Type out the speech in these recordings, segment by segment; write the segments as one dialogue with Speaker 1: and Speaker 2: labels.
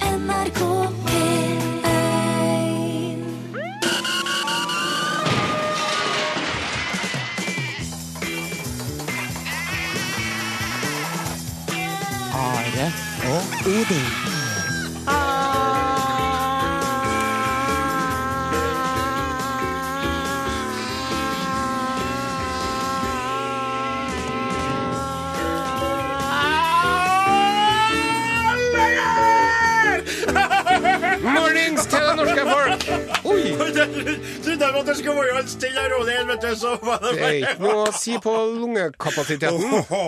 Speaker 1: NRK P1
Speaker 2: Are og Odin.
Speaker 3: Mornings til det norske folk!
Speaker 4: Trodde jeg at jeg skulle være en stille og rolig en, vet du, så var det
Speaker 3: Det er ikke noe å si på lungekapasiteten.
Speaker 4: Åhå,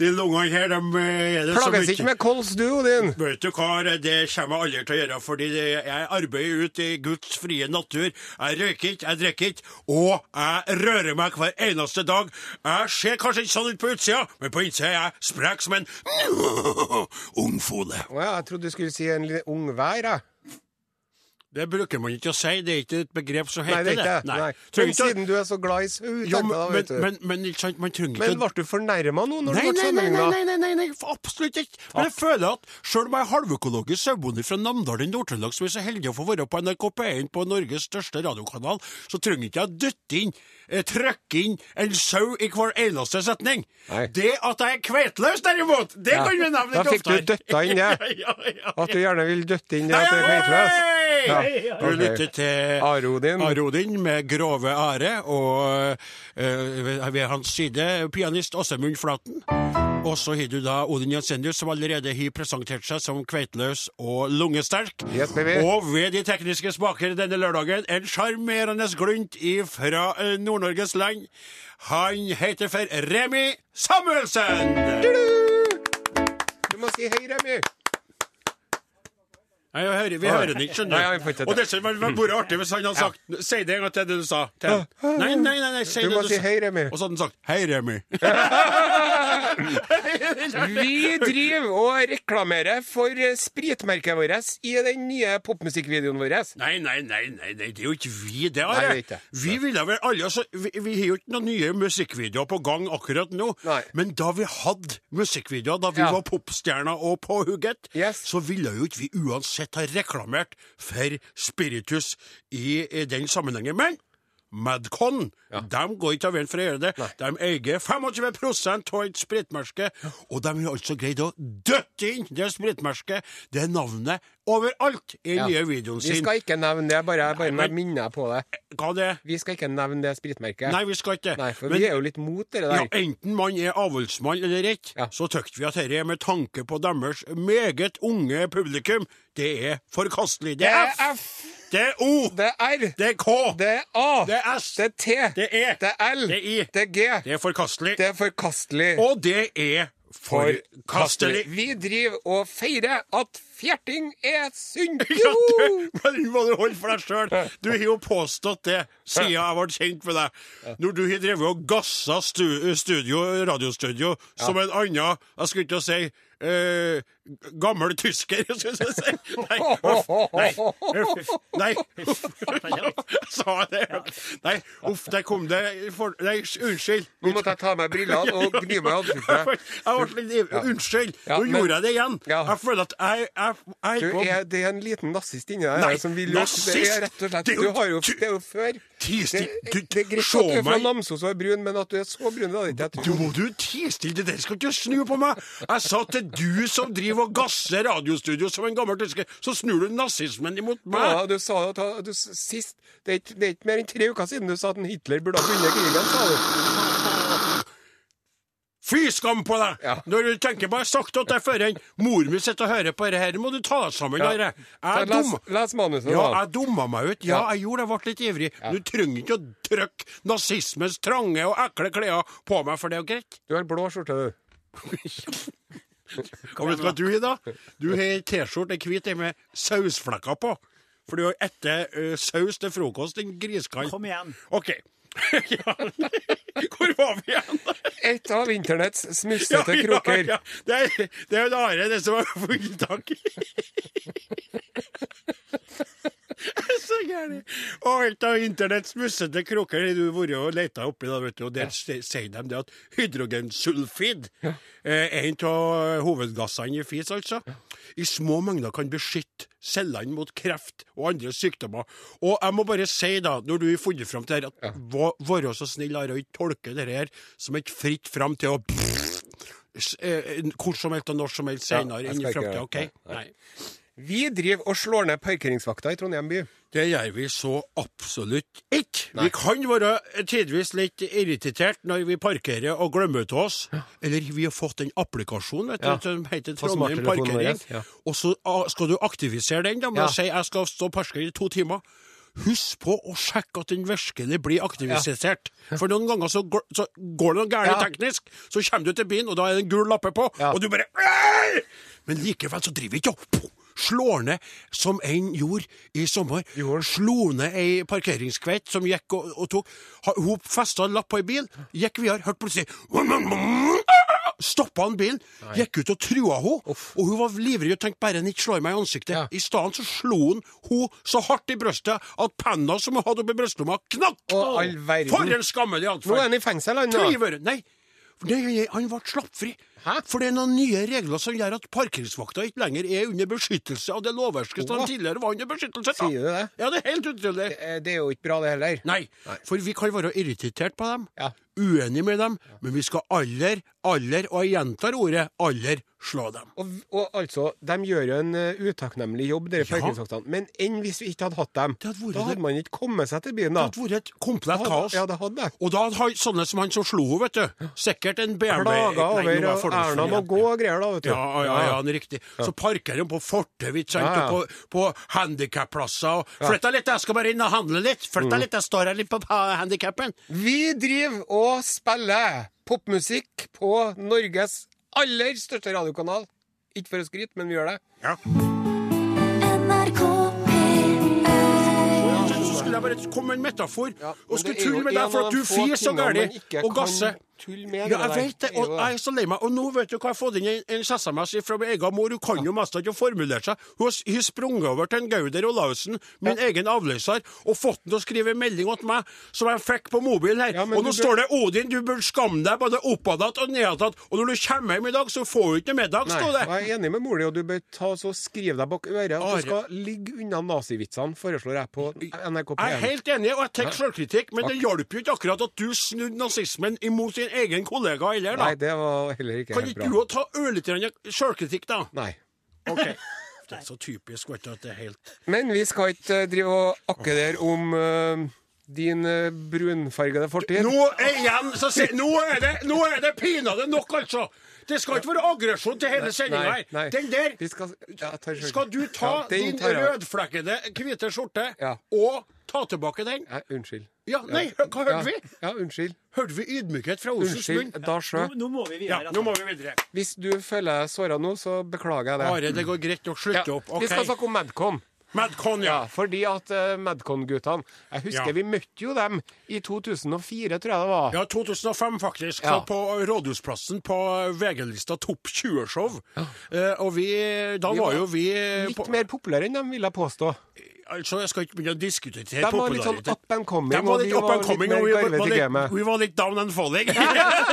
Speaker 4: De lungene her, de eh, er det så
Speaker 3: Plages ikke
Speaker 4: mye
Speaker 3: med kols, du, Odin.
Speaker 4: Vet du hva, det kommer jeg aldri til å gjøre, fordi det- jeg arbeider ut i Guds frie natur. Jeg røyker ikke, jeg drikker ikke, og jeg rører meg hver eneste dag. Jeg ser kanskje ikke sånn ut på utsida, men på innsida er jeg sprek som en ungfole.
Speaker 3: Å ja, jeg trodde du skulle si en liten ung vær, jeg.
Speaker 4: Det bruker man ikke å si, det er ikke et begrep som
Speaker 3: Nei,
Speaker 4: heter
Speaker 3: det er ikke det. Nei. Men
Speaker 4: Trenger ikke å-
Speaker 3: siden du er så glad i sau,
Speaker 4: Ja,
Speaker 3: tenkte jeg da,
Speaker 4: men,
Speaker 3: vet du.
Speaker 4: men, men ikke sant, man trenger
Speaker 3: Men
Speaker 4: ikke å-
Speaker 3: ble du fornærma nå når du
Speaker 4: Nei,
Speaker 3: ble sånn,
Speaker 4: nei, nei, nei,
Speaker 3: sammenligna?
Speaker 4: nei, nei, nei, nei, absolutt ikke. Men jeg føler at sjøl om jeg er halvøkologisk sauebonde fra Namdalen i Nord-Trøndelag, som er så heldig å få være på NRK P1 på Norges største radiokanal, så trenger ikke jeg dytte inn, eh, trykke inn en sau i hver eneste setning.
Speaker 3: Nei.
Speaker 4: Det at jeg er kveitløs, derimot, det
Speaker 3: Ja.
Speaker 4: kan vi nevne
Speaker 3: Da
Speaker 4: litt
Speaker 3: fikk du døtta inn det.
Speaker 4: ja, ja,
Speaker 3: At du gjerne vil døtte inn i
Speaker 4: Hei,
Speaker 3: at det er kveitløs?
Speaker 4: hei!
Speaker 3: Ja,
Speaker 4: Du
Speaker 3: ok.
Speaker 4: lytter til
Speaker 3: Are Odin.
Speaker 4: Are Odin med Grove Are, og eh, ved ved hans side pianist Åsemund Flaten. Og så har du da Odin Jensenius, som allerede har presentert seg som kveitløs og lungesterk.
Speaker 3: Yes, baby.
Speaker 4: og ved de tekniske spaker denne lørdagen, en sjarmerende glunt fra Nord-Norges land. Han heter for Remi Samuelsen!
Speaker 3: Du må si hei, Remi.
Speaker 4: Nei, jeg hører, vi hører den ikke, skjønner
Speaker 3: Nei, jeg får ikke til.
Speaker 4: Og det som hadde vært artig hvis han hadde sagt Si det en gang til det du sa. Til. han. Nei, nei, nei, nei, si
Speaker 3: Du
Speaker 4: det
Speaker 3: må
Speaker 4: du
Speaker 3: si
Speaker 4: sa.
Speaker 3: hei, Remi.
Speaker 4: Og så hadde han sagt Hei, Remi.
Speaker 3: Vi driver og reklamerer for eh, spritmerket vårt i den nye popmusikkvideoen vår.
Speaker 4: Nei, nei, nei, nei, nei, det er jo ikke vi, det,
Speaker 3: Nei,
Speaker 4: Are.
Speaker 3: det er ikke det.
Speaker 4: Vi ville vel alle altså, Vi vi har jo ikke noen nye musikkvideoer på gang akkurat nå.
Speaker 3: Nei.
Speaker 4: Men da vi hadde musikkvideoer, da vi
Speaker 3: Ja.
Speaker 4: var popstjerner og på hugget,
Speaker 3: Yes.
Speaker 4: så ville jo ikke vi uansett ha reklamert for spiritus i, i den sammenhengen. Men Madcon de går ikke av veien for å gjøre det. De eier 25 av et spritmerke, og de har altså greid å døtte inn det spritmerket, det navnet, overalt i den nye videoen
Speaker 3: Vi
Speaker 4: sin.
Speaker 3: skal ikke nevne det, bare jeg bare
Speaker 4: Nei, men-
Speaker 3: minner jeg på det.
Speaker 4: Hva det?
Speaker 3: Vi skal ikke nevne det spritmerket.
Speaker 4: Nei, vi skal ikke det.
Speaker 3: Nei, for
Speaker 4: Men-
Speaker 3: vi er jo litt mot det der.
Speaker 4: Ja, enten man er avholdsmann eller ikke,
Speaker 3: Ja.
Speaker 4: så tykte vi at dette er med tanke på deres meget unge publikum. Det er forkastelig. Det er F,
Speaker 3: F,
Speaker 4: det er O,
Speaker 3: det er R,
Speaker 4: det er K,
Speaker 3: det er A,
Speaker 4: det er S,
Speaker 3: det er T,
Speaker 4: det er E,
Speaker 3: det er L,
Speaker 4: det er I,
Speaker 3: det er G,
Speaker 4: det er forkastelig,
Speaker 3: det er forkastelig.
Speaker 4: og det er forkastelig.
Speaker 3: Vi driver og feirer at fjerting er sunt!
Speaker 4: Ja,
Speaker 3: Joho!
Speaker 4: du, men du må du holde for deg sjøl. Du har jo påstått det siden jeg ble kjent med deg. Når du har drevet og gassa stu, studio, radiostudio som en annen Jeg skulle ikke si eh, gammel tysker, skulle jeg si. Nei, uff, nei, uff, nei. Jeg sa det. Nei, uff, der kom det for, Nei, unnskyld.
Speaker 3: Nå måtte jeg ta av meg brillene og gni meg i ansiktet.
Speaker 4: Jeg ble litt ivrig. Unnskyld,
Speaker 3: Ja,
Speaker 4: nå
Speaker 3: men-
Speaker 4: gjorde jeg det igjen.
Speaker 3: Ja.
Speaker 4: Jeg føler at jeg, jeg, jeg
Speaker 3: Du er, det er en liten nazist inni deg
Speaker 4: Nei,
Speaker 3: her altså, som vil gjøre- Det
Speaker 4: nazist?
Speaker 3: er rett og slett
Speaker 4: Det er
Speaker 3: Du
Speaker 4: jo-
Speaker 3: har jo
Speaker 4: du-
Speaker 3: Det er jo før.
Speaker 4: Tis,
Speaker 3: Det,
Speaker 4: du-
Speaker 3: det er greit
Speaker 4: se
Speaker 3: at du er fra
Speaker 4: meg.
Speaker 3: Namsos og er brun, men at du er så brun, det hadde ikke jeg
Speaker 4: Du
Speaker 3: trodd.
Speaker 4: må du tie stille, det der skal ikke snu på meg! Jeg sa til du som driver og gasser radiostudio som en gammel tysker, så snur du nazismen imot
Speaker 3: Ja,
Speaker 4: meg!
Speaker 3: du sa at du, s- sist det er, ikke, det er ikke mer enn tre uker siden du sa at en Hitler burde ha vunnet krigen, sa du.
Speaker 4: Fy skam på deg!
Speaker 3: Ja.
Speaker 4: Når du tenker på jeg har sagt at jeg fører en mor mi sitter og hører på det her, må du ta deg sammen, Are.
Speaker 3: Så
Speaker 4: Jeg er
Speaker 3: les,
Speaker 4: dum.
Speaker 3: les manuset,
Speaker 4: Ja,
Speaker 3: da.
Speaker 4: jeg dumma meg ut. Ja, jeg gjorde det. Jeg ble litt ivrig. Du trenger ikke å trykke nazismens trange og ekle klær på meg, for det er jo greit.
Speaker 3: Du har blå skjorte, du.
Speaker 4: Og vet du hva du har da? Du har ei T-skjorte, ei hvit, ei med sausflekker på. For du har etter ø, saus til frokost, din griskall.
Speaker 5: Kom igjen.
Speaker 4: OK. ja. Hvor var vi igjen?
Speaker 3: Et av internetts
Speaker 4: Ja,
Speaker 3: smussete
Speaker 4: ja,
Speaker 3: kroker.
Speaker 4: ja. Det er det er jo en Are, det som har funnet tak i. Så gærent. Og helt av internetts mussete krukker har du vært og leita oppi, da, vet du, og der se- sier de det at hydrogensulfid, eh, en av hovedgassene i fis, altså, i små mengder kan beskytte cellene mot kreft og andre sykdommer. Og jeg må bare si, da, når du har funnet fram til det her, at vå- vær så snill, Are, å ikke tolke det her som et fritt fram til å s- eh, hvor som helst og når som helst
Speaker 3: Ja,
Speaker 4: senere
Speaker 3: jeg
Speaker 4: inn i
Speaker 3: skal ikke
Speaker 4: framtida.
Speaker 3: gjøre
Speaker 4: OK?
Speaker 3: det.
Speaker 4: Nei.
Speaker 3: Vi driver og slår ned parkeringsvakta i Trondheim by.
Speaker 4: Det gjør vi så absolutt ikke. Vi kan være tidvis litt irritert når vi parkerer og glemmer til oss. Eller vi har fått en applikasjon vet du,
Speaker 3: Ja.
Speaker 4: som heter
Speaker 3: På smarttelefonen
Speaker 4: Trondheim Parkering.
Speaker 3: vår, ja.
Speaker 4: Og så ah, skal du aktivisere den da, med
Speaker 3: Ja.
Speaker 4: å si 'jeg skal stå og parkere i to timer'. Husk på å sjekke at den virkelig blir aktivisert. For noen ganger så går, så går det noe gærent
Speaker 3: Ja.
Speaker 4: teknisk, så kommer du til byen, og da er det en gul lappe på,
Speaker 3: Ja.
Speaker 4: og du bare «Ei!» Men likevel så driver vi ikke og slår ned som en gjorde i sommer. Slo ned ei parkeringskveit som gikk og, og tok ha- Hun festa en lapp på ei bil, gikk videre, hørte plutselig Stoppa ah!» han bilen, gikk ut og trua henne. Og hun var livredd og tenkte bare han ikke slår meg i ansiktet.
Speaker 3: Ja.
Speaker 4: I stedet så slo han hun så hardt i brøstet at penna som hun hadde oppi brystlomma, knakk!
Speaker 3: Å, all verden.
Speaker 4: For en skammelig
Speaker 3: Nå er
Speaker 4: atferd!
Speaker 3: han i fengsel, han. nå.
Speaker 4: Tøyver! Nei, Nei, han ble slappfri.
Speaker 3: Hæ?
Speaker 4: For det er noen nye regler som gjør at parkeringsvakta ikke lenger er under beskyttelse av det lovverket som
Speaker 3: Åh.
Speaker 4: tidligere var under beskyttelse av.
Speaker 3: Sier du det?
Speaker 4: Ja, det er helt utrolig.
Speaker 3: Eh, Det er jo ikke bra, det heller.
Speaker 4: Nei, for vi kan være irritert på dem,
Speaker 3: Ja.
Speaker 4: uenig med dem, men vi skal aller, aller, og jeg gjentar ordet, aller slå dem.
Speaker 3: Og, og altså, de gjør jo en eh, utakknemlig jobb, dere parkeringsvaktene. Men enn hvis vi ikke hadde hatt dem?
Speaker 4: Det hadde vært
Speaker 3: da
Speaker 4: det.
Speaker 3: hadde man ikke kommet seg til byen, da.
Speaker 4: Det hadde vært et komplett kaos.
Speaker 3: Ja, det hadde det.
Speaker 4: Og da hadde han- sånne som han som slo henne, vet du, sikkert en BMW
Speaker 3: Klaga
Speaker 4: Nei, nå er jeg
Speaker 3: over og
Speaker 4: fordomsfull
Speaker 3: Erna må
Speaker 4: igjen.
Speaker 3: gå og greier, da, vet du.
Speaker 4: Ja, ja, ja, han er riktig. Så parker de på fortau, ikke sant,
Speaker 3: Ja, ja.
Speaker 4: og på, på handikapplasser. og Flytt deg litt, jeg skal bare inn og handle litt. Flytt
Speaker 3: Mm.
Speaker 4: deg litt, jeg står her litt på handikappen.
Speaker 3: Vi driver og spiller popmusikk på Norges aller største radiokanal. Ikke for å skryte, men vi gjør det.
Speaker 1: NRK P1
Speaker 4: Så skulle jeg bare komme med en metafor og
Speaker 3: det
Speaker 4: skulle
Speaker 3: er jo
Speaker 4: tulle med deg
Speaker 3: en
Speaker 4: for
Speaker 3: av de
Speaker 4: at du
Speaker 3: få
Speaker 4: fiser så
Speaker 3: tingene
Speaker 4: gærlig
Speaker 3: man ikke
Speaker 4: og
Speaker 3: kan
Speaker 4: gasser.
Speaker 3: tulle med,
Speaker 4: Ja, jeg
Speaker 3: det der.
Speaker 4: vet det,
Speaker 3: Er
Speaker 4: og
Speaker 3: jo det.
Speaker 4: jeg er så lei meg. Og nå vet du hva jeg har fått inn en, en SMS fra min egen mor. Hun kan jo mest ikke å formulere seg. Hun har s- hun har sprunget over til en Gauder Olavsen, min egen avløser, og fått den til å skrive en melding til meg, som jeg fikk på mobilen her.
Speaker 3: Ja, men
Speaker 4: og nå
Speaker 3: du bør-
Speaker 4: står det 'Odin, du bør skamme deg både oppadat og nedadat', og når du kommer hjem i dag, så får du ikke noe middag,
Speaker 3: Nei,
Speaker 4: står det.
Speaker 3: og jeg er enig med mor di, og du bør ta så skrive deg bak øret at
Speaker 4: Are.
Speaker 3: du skal ligge unna nazivitsene, foreslår jeg på NRK
Speaker 4: Jeg er
Speaker 3: P1.
Speaker 4: helt enig, og jeg tar selvkritikk, men det hjalp jo ikke akkurat at du snudde nazismen imot din egen kollega heller, da.
Speaker 3: Nei, det var heller ikke
Speaker 4: Kan
Speaker 3: helt
Speaker 4: ikke du
Speaker 3: bra.
Speaker 4: òg ta ørlite grann sjølkritikk, da?
Speaker 3: Nei.
Speaker 4: Ok. Det er så typisk, vet du, at det er helt
Speaker 3: Men vi skal ikke eh, drive og akke der om eh, din eh, brunfargede fortid.
Speaker 4: Nå er igjen, så si, nå er det, nå er det pinadø nok, altså! Det skal ikke være aggresjon til hele sendinga
Speaker 3: Nei, nei.
Speaker 4: her. Den der
Speaker 3: Vi skal, ja, jeg tar selv.
Speaker 4: skal du ta
Speaker 3: Ja, den
Speaker 4: din
Speaker 3: tar jeg.
Speaker 4: rødflekkede, hvite skjorte
Speaker 3: Ja.
Speaker 4: og ta tilbake den.
Speaker 3: Nei, unnskyld.
Speaker 4: Ja, nei, hø- hva hørte vi?
Speaker 3: Ja, ja, unnskyld.
Speaker 4: Hørte vi ydmykhet fra Olsens
Speaker 3: Unnskyld,
Speaker 4: munn?
Speaker 3: da sjø.
Speaker 2: Nå, nå må vi
Speaker 4: Ja,
Speaker 2: videre. altså.
Speaker 4: nå må vi videre.
Speaker 3: Hvis du føler deg såra nå, så beklager jeg det.
Speaker 4: Are, det går greit nok.
Speaker 3: Ja,
Speaker 4: Slutt opp.
Speaker 3: Vi skal
Speaker 4: OK.
Speaker 3: snakke om Madcon.
Speaker 4: Madcon, ja.
Speaker 3: Ja, fordi at eh, Madcon-guttene Jeg husker
Speaker 4: Ja.
Speaker 3: vi møtte jo dem i 2004, tror jeg det var.
Speaker 4: Ja, 2005 faktisk,
Speaker 3: Ja.
Speaker 4: så på Rådhusplassen på VG-lista Topp 20-show. Eh, og vi, da
Speaker 3: Vi
Speaker 4: var,
Speaker 3: var
Speaker 4: jo vi eh,
Speaker 3: Litt
Speaker 4: på,
Speaker 3: mer populære enn dem, vil jeg påstå.
Speaker 4: Altså, jeg skal ikke begynne å diskutere
Speaker 3: De var litt sånn
Speaker 4: popularitet.
Speaker 3: up and coming,
Speaker 4: De var litt up and
Speaker 3: litt
Speaker 4: coming,
Speaker 3: mer
Speaker 4: og vi var,
Speaker 3: garvete i
Speaker 4: litt,
Speaker 3: gamet.
Speaker 4: vi var litt down and falling.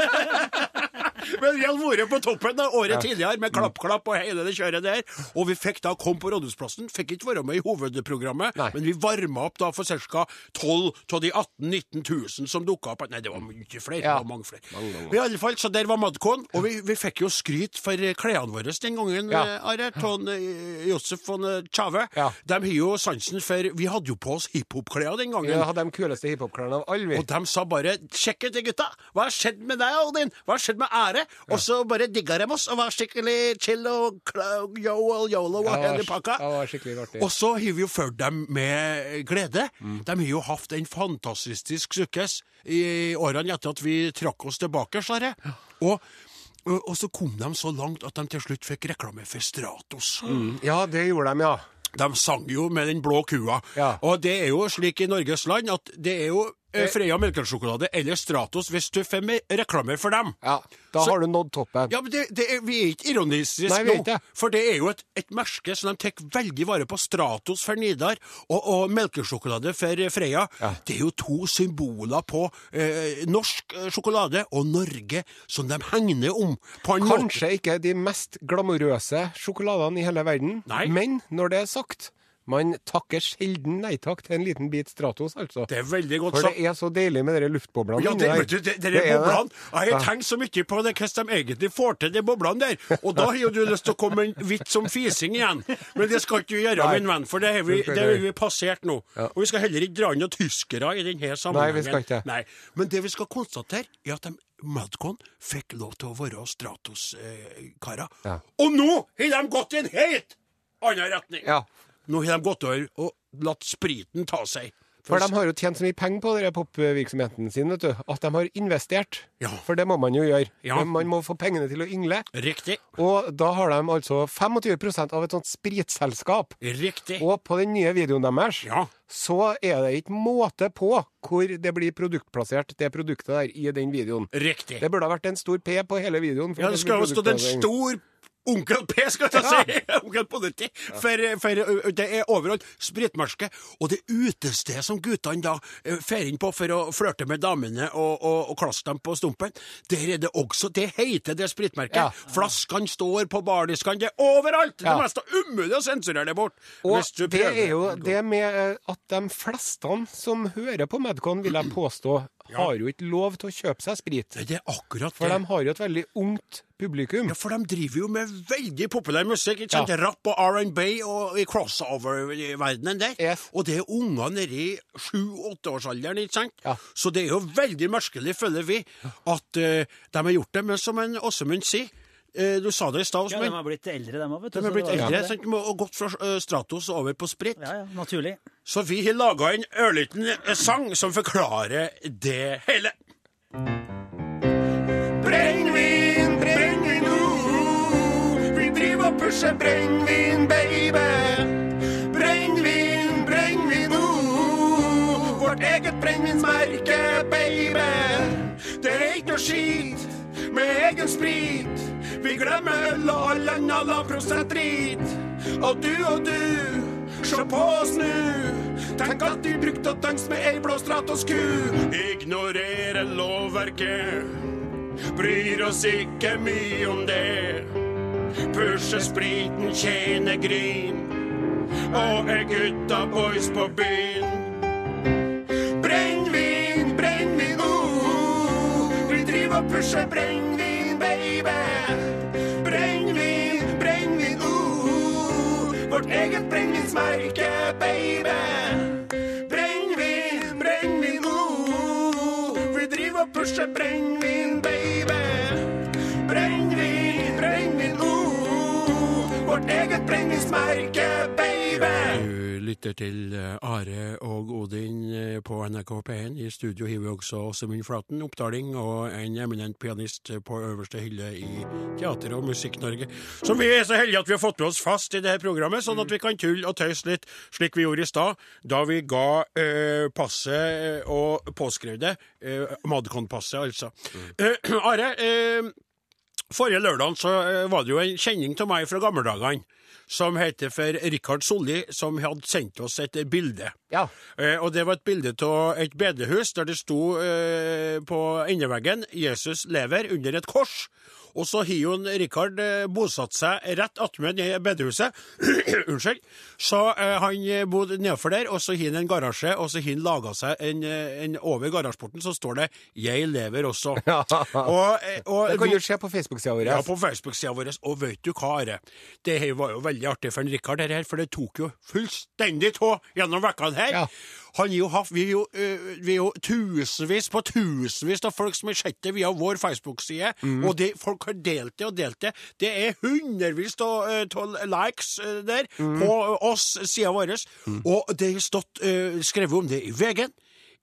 Speaker 4: Men vi hadde vært på toppen da, året tidligere med klapp-klapp og hele det kjøret der. Og vi fikk da kom på Rådhusplassen. Fikk ikke være med i hovedprogrammet,
Speaker 3: Nei.
Speaker 4: men vi varma opp da for ca. 12 av de 18 000-19 000 som dukka opp. Nei, det var mye flere.
Speaker 3: Ja.
Speaker 4: Det var mange flere. Men I alle fall, så der var Madcon, og vi, vi fikk jo skryt for eh, klærne våre den gangen,
Speaker 3: Ja.
Speaker 4: ja. Are. Ton, eh, Josef von eh, Tjave.
Speaker 3: Ja.
Speaker 4: De har jo sansen for Vi hadde jo på oss hiphop-klær den gangen.
Speaker 3: Vi hadde de kuleste hiphop-klærne av alle, vi.
Speaker 4: Og de sa bare 'sjekk ut de gutta', hva har skjedd med deg, Odin? Hva har skjedd med ære? Og så bare digga de oss og var skikkelig chill og kla- yo og yolo og
Speaker 3: Ja,
Speaker 4: hele
Speaker 3: det var- ja,
Speaker 4: pakka.
Speaker 3: det Mm. var skikkelig artig.
Speaker 4: Og så har vi jo ført dem med glede. De har jo hatt en fantastisk sukkes i årene etter at vi trakk oss tilbake, sa jeg. Og, og og så kom de så langt at de til slutt fikk reklame for Stratos.
Speaker 3: Ja, det gjorde de, ja.
Speaker 4: De sang jo med den blå kua.
Speaker 3: Ja.
Speaker 4: Og det er jo slik i Norges land at det er jo eh, Freia melkesjokolade eller Stratos hvis du får med reklame for dem.
Speaker 3: Ja, da
Speaker 4: Så-
Speaker 3: har du nådd toppen.
Speaker 4: Ja, men det, det er, Vi er ikke ironistiske
Speaker 3: Nei, vi er
Speaker 4: nå,
Speaker 3: ikke det.
Speaker 4: for det er jo et, et merke som de tar veldig vare på. Stratos for Nidar og, og melkesjokolade for eh, Freia.
Speaker 3: Ja.
Speaker 4: Det er jo to symboler på eh, norsk eh, sjokolade og Norge som de hegner om. på en måte.
Speaker 3: Kanskje ikke de mest glamorøse sjokoladene i hele verden,
Speaker 4: Nei.
Speaker 3: men når det er sagt man takker sjelden nei takk til en liten bit Stratos, altså.
Speaker 4: Det er veldig godt
Speaker 3: For
Speaker 4: sagt.
Speaker 3: det er så deilig med de luftboblene.
Speaker 4: Ja,
Speaker 3: inni
Speaker 4: det,
Speaker 3: der.
Speaker 4: vet du, det, det er boblene. Jeg har tenkt så mye på det, hvordan de egentlig får til de boblene der. Og da har jo du lyst til å komme med en vits om fising igjen. Men det skal ikke du gjøre,
Speaker 3: Nei.
Speaker 4: min venn, for det har vi,
Speaker 3: Det skal
Speaker 4: det
Speaker 3: jeg
Speaker 4: har vi passert nå. Og vi skal heller ikke dra inn noen tyskere i denne sammenhengen.
Speaker 3: Nei, vi skal ikke.
Speaker 4: Nei. Men det vi skal konstatere, er at de, Madcon fikk lov til å være Stratos-karer.
Speaker 3: Ja.
Speaker 4: Og nå har de gått i en helt annen retning!
Speaker 3: Ja,
Speaker 4: Nå har de gått over og latt spriten ta seg.
Speaker 3: For de har jo tjent så mye penger på denne popvirksomheten sin, vet du, at de har investert.
Speaker 4: Ja.
Speaker 3: For det må man jo gjøre.
Speaker 4: Ja.
Speaker 3: Men Man må få pengene til å yngle.
Speaker 4: Riktig.
Speaker 3: Og da har de altså 25 av et sånt spritselskap.
Speaker 4: Riktig.
Speaker 3: Og på den nye videoen deres
Speaker 4: Ja.
Speaker 3: så er det ikke måte på hvor det blir produktplassert, det produktet der, i den videoen.
Speaker 4: Riktig.
Speaker 3: Det burde ha vært en stor P på hele videoen. for
Speaker 4: Ja, det skal jo
Speaker 3: blir
Speaker 4: stå en
Speaker 3: produktplassering.
Speaker 4: stor Onkel P, skal jeg si! Onkel Politi. For, for ø, det er overalt spritmerke. Og det utestedet som guttene da ø, fer inn på for å flørte med damene og, og, og klasse dem på stumpen, der er det også Det heter det spritmerket.
Speaker 3: Ja.
Speaker 4: Flaskene står på bardiskene. Det er overalt! Det
Speaker 3: Ja.
Speaker 4: meste er umulig å sensurere det bort. Hvis du
Speaker 3: Og det
Speaker 4: prøver.
Speaker 3: er jo det med eh, at de fleste som hører på Medcon, vil jeg påstå, har jo ikke lov til å kjøpe seg sprit.
Speaker 4: Nei, Det er akkurat
Speaker 3: For
Speaker 4: det.
Speaker 3: de har jo et veldig ungt publikum.
Speaker 4: Ja, for de driver jo med veldig populær musikk. ikke sant?
Speaker 3: Ja.
Speaker 4: Rapp og R&B og i crossover-verdenen der.
Speaker 3: Yes.
Speaker 4: Og det er unger nedi sju-åtteårsalderen, ikke sant?
Speaker 3: Ja.
Speaker 4: Så det er jo veldig merkelig, føler vi, at eh, de har gjort det. Men som en Åsemund sier, eh, du sa det i stad,
Speaker 2: Ja, de
Speaker 4: Åsemund.
Speaker 2: har blitt eldre, de òg, vet du. så
Speaker 4: de har blitt
Speaker 2: det var
Speaker 4: eldre
Speaker 2: det.
Speaker 4: sant? De har gått fra eh, Stratos og over på sprit.
Speaker 2: Ja, ja, naturlig.
Speaker 4: Så vi har laga en ørliten eh, sang som forklarer det hele.
Speaker 3: Brennevin, brennevin, uh, vi driver og pusher brennevin, baby. Brennevin, brennevin, uh, vårt eget brennevinsmerke, baby. Det er ikke noe skit med egen sprit. Vi glemmer øl og all anna lavprosentdrit. Og du og du, se på oss nu. Tenk at du brukte å danse med ei blå stratos-ku.
Speaker 4: Ignorere lovverket. Bryr oss ikke mye om det. Pusher spriten, tjener grin. Og er gutta boys på byen.
Speaker 3: Brennvin, brennvin, oh, vi driver og pusher brennvin, baby. Brennvin, brennvin, oh, vårt eget brennevinsmerke, baby. Brennvin, brennvin, oh, vi driver og pusher brennvin, baby. Brennvin, brennvin, oh, vårt eget brennevinsmerke, baby.
Speaker 4: Du lytter til eh, Are og Odin eh, på NRK P1. I studio har vi også Åsemund Flaten, oppdaling og en eminent pianist eh, på øverste hylle i Teater- og Musikk-Norge. Som vi er så heldige at vi har fått med oss fast i dette programmet, sånn at vi kan tulle og tøyse litt, slik vi gjorde i stad, da vi ga eh, passet eh, og påskrev det. eh, Madcon-passet, altså. Eh, Are, eh, Forrige lørdag så eh, var det jo en kjenning til meg fra gammeldagene som heter for Rikard Solli, som hadde sendt oss et bilde.
Speaker 3: Ja.
Speaker 4: Eh, og det var et bilde av et bedehus der det sto eh, på endeveggen 'Jesus lever' under et kors. Og så har jo en Rikard eh, bosatt seg rett attmed det bedehuset. Unnskyld. Så eh, han eh, bodde nedfor der, og så har han en garasje, og så har han laga seg en, eh, en Over garasjeporten så står det 'Jeg lever også'. Og, eh, og
Speaker 3: Det kan
Speaker 4: vi-
Speaker 3: du se på Facebook-sida vår.
Speaker 4: ja, på Facebook-sida vår. Og vet du hva, Are? Det her var jo veldig artig for en Rikard, her, for det tok jo fullstendig tå gjennom vekkene her.
Speaker 3: Ja.
Speaker 4: Han jo haft, vi, er jo, eh, vi er jo tusenvis på tusenvis av folk som har sett det via vår Facebook-side.
Speaker 3: Mm.
Speaker 4: Og de, folk har delt det og delt det. Det er hundrevis av eh, tolv likes eh, der
Speaker 3: Mm.
Speaker 4: på eh, oss, sida vår. Og det har stått eh, skrevet om det i VG-en,